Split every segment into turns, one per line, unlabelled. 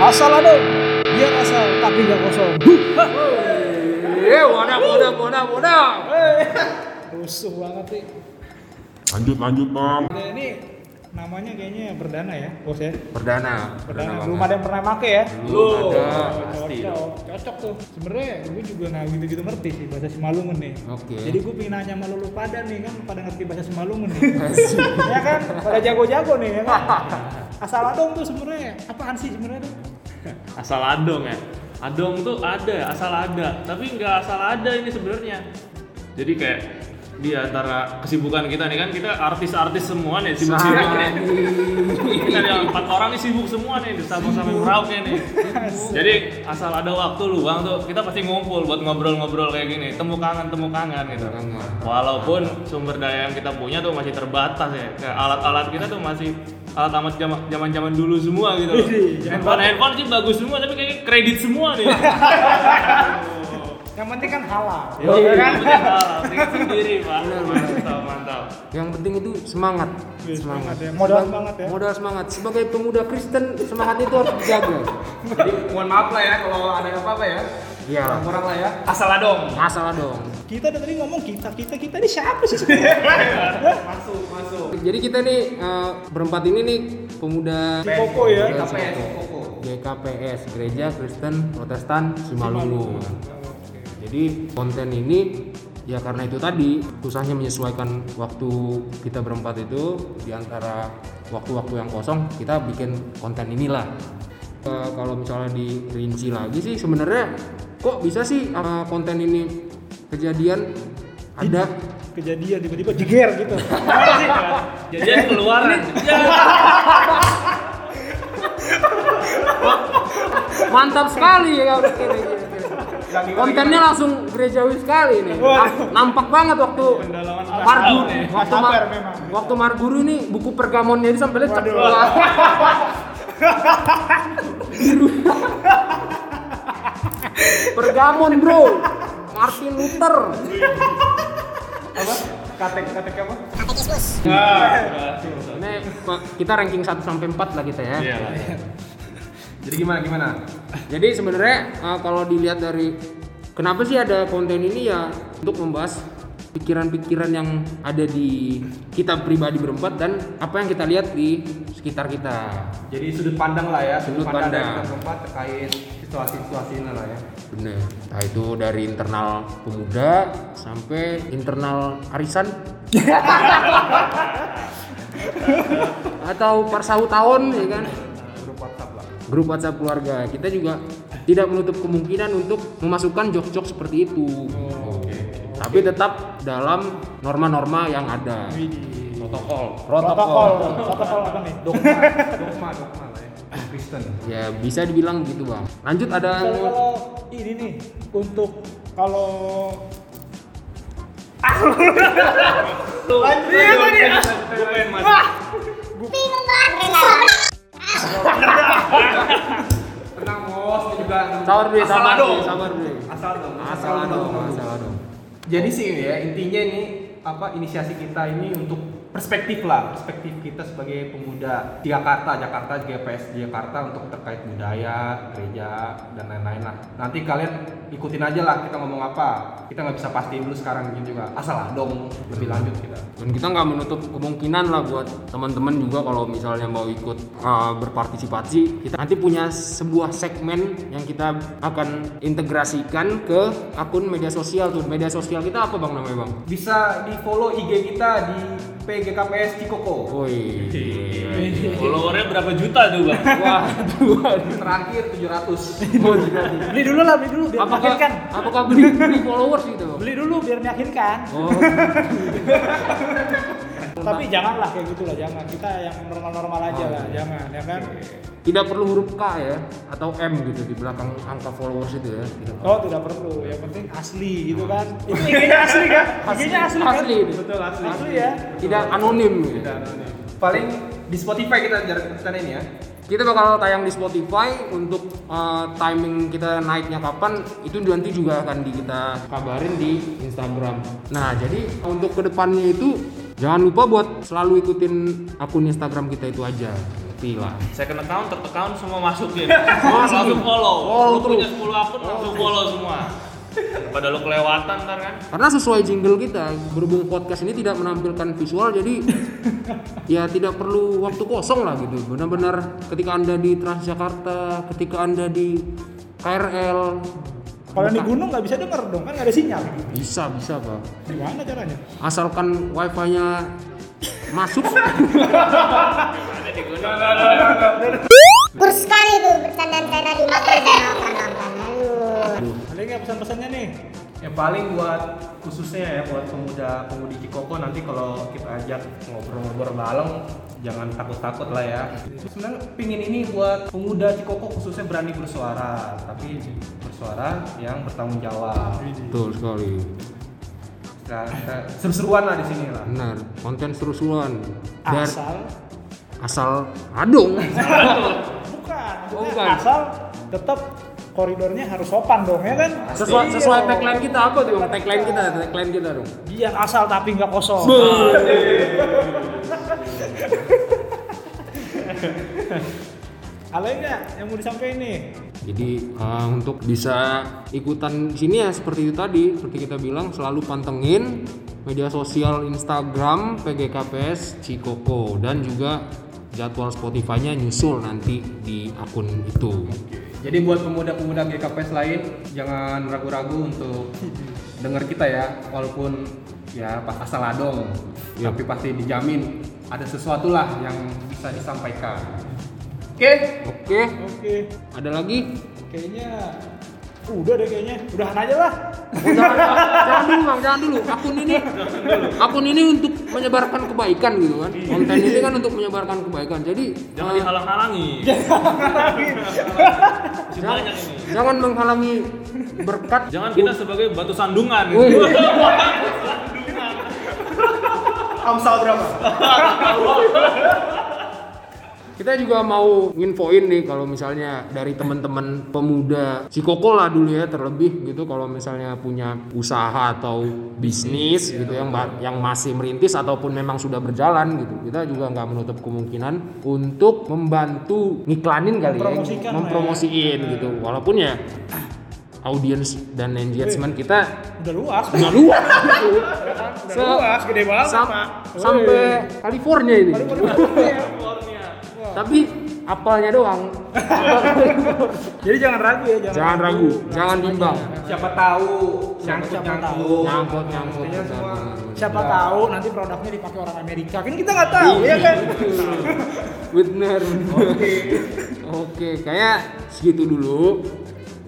Asal ada. Biar asal tapi nggak kosong.
Eh, wadap, wadap, wadap, wadap.
Rusuh banget sih.
Lanjut lanjut bang.
Nah, ini namanya kayaknya perdana ya, bos ya.
Perdana.
Perdana.
banget.
Belum ada yang pernah make ya.
Belum ada, pasti.
Cocok, cocok tuh. Sebenarnya gue juga nggak gitu-gitu ngerti sih bahasa Simalungun nih.
Oke.
Jadi gue pengen nanya sama lu pada nih kan, pada ngerti bahasa Simalungun nih. ya kan, pada jago-jago nih ya kan. Asal adong tuh sebenarnya apaan sih sebenarnya tuh?
asal adong ya adong tuh ada asal ada tapi nggak asal ada ini sebenarnya jadi kayak di antara kesibukan kita nih kan kita artis-artis semua nih sibuk sibuk nih kita ada empat orang nih sibuk semua nih di Sabang sampai Merauke nih jadi asal ada waktu luang tuh kita pasti ngumpul buat ngobrol-ngobrol kayak gini temu kangen temu kangen gitu walaupun sumber daya yang kita punya tuh masih terbatas ya Kayak alat-alat kita tuh masih alat amat zaman zaman dulu semua gitu loh. handphone handphone sih bagus semua tapi kayaknya kredit semua nih
Yang penting kan halal.
Yo,
ya kan?
tinggal sendiri pak mantap mantap
Yang penting itu semangat.
Iya, semangat
Semangat.
ya. Modal
Sebag-
semangat ya.
Modal semangat. Sebagai pemuda Kristen, semangat itu harus dijaga.
Jadi mohon maaf lah ya kalau ada apa-apa ya.
Iya.
Kurang lah ya.
asal adong
Masalah dong.
Kita dari tadi ngomong kita, kita, kita ini siapa sih sebenarnya?
Masuk, masuk.
Jadi kita nih eh, berempat ini nih pemuda
Di Koko ya.
KPS Koko.
GKPS Gereja Kristen Protestan Simalungun. Jadi konten ini ya karena itu tadi susahnya menyesuaikan waktu kita berempat itu di antara waktu-waktu yang kosong kita bikin konten inilah. Eh, kalau misalnya dirinci lagi sih sebenarnya kok bisa sih eh, konten ini kejadian ada
Kejadian tiba-tiba jeger gitu.
Gimana sih? Jajan keluaran.
mantap sekali ya kontennya langsung gerejawi sekali nih
Waduh.
nampak banget waktu
Pendalaman
Margu,
alam ya.
waktu
Sabar
Mar
memang.
waktu Marguru ini buku pergamonnya itu sampai lecek.
Waduh.
Wah. Biru. Pergamon bro, Martin Luther.
Apa? Katek, katek apa?
Ini Pak, kita ranking 1 sampai 4 lah kita ya.
Iya lah.
Jadi gimana gimana?
Jadi sebenarnya uh, kalau dilihat dari kenapa sih ada konten ini ya untuk membahas pikiran-pikiran yang ada di kita pribadi berempat dan apa yang kita lihat di sekitar kita.
Jadi sudut pandang lah ya, sudut,
Sudut
pandang, dari
pandang.
kita keempat terkait situasi-situasi ini lah ya.
Bener. Nah itu dari internal pemuda sampai internal arisan. Atau parsahu tahun ya kan.
Grup WhatsApp lah.
Grup WhatsApp keluarga. Kita juga tidak menutup kemungkinan untuk memasukkan jok-jok seperti itu.
Oh,
Tapi tetap dalam norma-norma yang ada. Protokol.
Protokol, protokol apa nih?
Dogma, dogma lah ya. Kristen.
Ya bisa dibilang gitu bang. Lanjut ada
Kalau kalau ini nih untuk kalau
Tuh. Iya kan ya. Gue pengen masuk.
Tenang bos, ini juga.
sabar dulu,
Asal
sabar dulu,
adong.
sabar dulu.
Asal dong.
Asal adong, asal adong.
Jadi sih ya intinya ini apa inisiasi kita ini untuk perspektif lah perspektif kita sebagai pemuda di Jakarta Jakarta GPS Jakarta untuk terkait budaya gereja dan lain-lain lah nanti kalian ikutin aja lah kita ngomong apa kita nggak bisa pastiin dulu sekarang ini juga asal dong lebih lanjut kita
dan kita nggak menutup kemungkinan lah buat teman-teman juga kalau misalnya mau ikut uh, berpartisipasi kita nanti punya sebuah segmen yang kita akan integrasikan ke akun media sosial tuh media sosial kita apa bang namanya bang
bisa di follow IG kita di PGKPS Cikoko
woi
Followernya berapa juta tuh bang?
wah
terakhir 700
beli dulu lah, beli dulu biar
apakah
meyakinkan.
apakah beli, beli followers gitu Bang?
Beli dulu biar meyakinkan.
oh
Tapi janganlah kayak gitulah, jangan. Kita yang normal-normal aja
Oh,
lah,
iya.
jangan ya kan.
tidak perlu huruf K ya atau M gitu di belakang angka followers itu ya Tidak perlu.
Oh, tidak perlu. Yang penting asli gitu kan. Itu IG-nya asli kan? IG-nya asli kan?
Asli ini.
Betul, asli. Asli ya.
tidak anonim gitu.
paling di Spotify kita rencana ini ya
Kita bakal tayang di Spotify untuk uh, timing kita naiknya kapan itu nanti juga akan di kita kabarin di Instagram. Nah, jadi untuk kedepannya itu jangan lupa buat selalu ikutin akun Instagram kita itu aja. ngerti lah
Second account, third account semua masukin. langsung follow.
Follow
Lu punya 10 akun langsung follow semua. Pada lo kelewatan ntar kan.
karena sesuai jingle kita berhubung podcast ini tidak menampilkan visual jadi ya tidak perlu waktu kosong lah gitu benar-benar ketika anda di Transjakarta ketika anda di KRL
Kalau di gunung nggak bisa denger dong, kan nggak ada sinyal.
bisa bisa pak
Gimana caranya?
asalkan wifi-nya masuk
Bersekali tuh bercandaan saya tadi makan makan makan. Aduh.
Ada nggak pesan-pesannya nih?
Yang paling buat khususnya ya buat pemuda pemudi Cikoko nanti kalau kita ajak ngobrol-ngobrol bareng jangan takut-takut lah ya. Sebenarnya pingin ini buat pemuda Cikoko khususnya berani bersuara, tapi bersuara yang bertanggung jawab.
betul sekali
Nah, kita seru-seruan lah di sini lah.
benar konten seru-seruan Dan
Asal
asal adung
bukan,
Oh,
maksudnya
bukan.
asal tetap koridornya harus sopan dong ya kan?
sesuai
Iya
sesuai
dong.
tagline kita apa tuh Bang? tagline kita tagline kita dong
Biar asal tapi nggak kosong. Ada nggak yang mau disampaikan nih?
Jadi eh, untuk bisa ikutan di sini ya seperti itu tadi, seperti kita bilang selalu pantengin media sosial Instagram PGKPS Cikoko dan juga jadwal Spotify-nya nyusul nanti di akun itu.
Jadi buat pemuda-pemuda GKPS lain jangan ragu-ragu untuk dengar kita ya, walaupun ya pas asal adong,
Iya.
tapi pasti dijamin ada sesuatu lah yang bisa disampaikan. Oke.
Oke,
Oke,
ada lagi?
kayaknya udah deh kayaknya. Udahan aja lah.
Oh, jangan, jangan dulu bang, jangan dulu. Akun ini, akun ini untuk menyebarkan kebaikan gitu kan. Konten ini kan untuk menyebarkan kebaikan. Jadi
Jangan
eh,
dihalang-halangi. Masih
jangan,
banyak ini.
jangan menghalangi berkat.
Jangan kita sebagai batu sandungan.
Wih.
gitu.
Amsal berapa?
Kita juga mau nginfoin nih kalau misalnya dari teman-teman pemuda Cikoko lah dulu ya terlebih gitu kalau misalnya punya usaha atau bisnis
Iya.
gitu yang ba- yang masih merintis ataupun memang sudah berjalan gitu. Kita juga nggak menutup kemungkinan untuk membantu ngiklanin kali ya,
Mempromosikan lah ya.
mempromosiin gitu. Walaupun ya audience dan engagement kita
Udah luas.
nggak luas gitu.
Udah
Se-
luas, gede banget.
Sam-
Pak.
sampai
Woi.
California ini.
Paling paling luas.
Tapi apalnya doang.
Jadi jangan ragu ya, jangan,
Jangan ragu, jangan bimbang.
Siapa tahu nyangkut
Siapa tahu.
nyangkut.
Nyangkut, nyangkut.
Siapa
Nah.
tahu nanti produknya dipakai orang Amerika. Kan kita nggak tahu
Iya.
ya kan.
Bener. Oke. Oke, kayak segitu dulu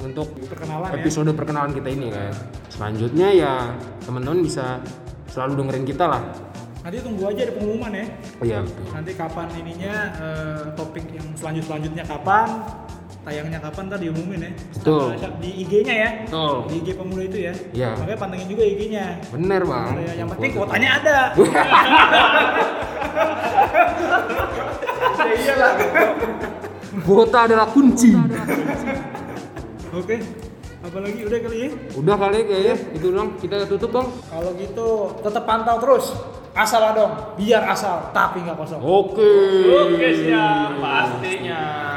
untuk
Perkenalan ya.
episode perkenalan kita ini kan. Selanjutnya ya teman-teman bisa selalu dengerin kita lah.
Nanti tunggu aja ada pengumuman ya.
Oh iya betul.
Nanti kapan ininya eh, topik yang selanjut selanjutnya kapan, tayangnya kapan tadi diumumin ya.
Betul.
Sama Di IG-nya ya.
Betul.
Di IG pemuda itu ya.
Iya.
Makanya pantengin juga IG-nya.
Bener bang.
Ya, yang penting kuotanya ada.
Kuota adalah kunci.
Oke. Apalagi udah kali ya.
Udah kali kayaknya itu dong kita tutup bang.
Kalau gitu tetap pantau terus. Asal dong, biar asal tapi nggak kosong.
Oke.
Oke siap, pastinya.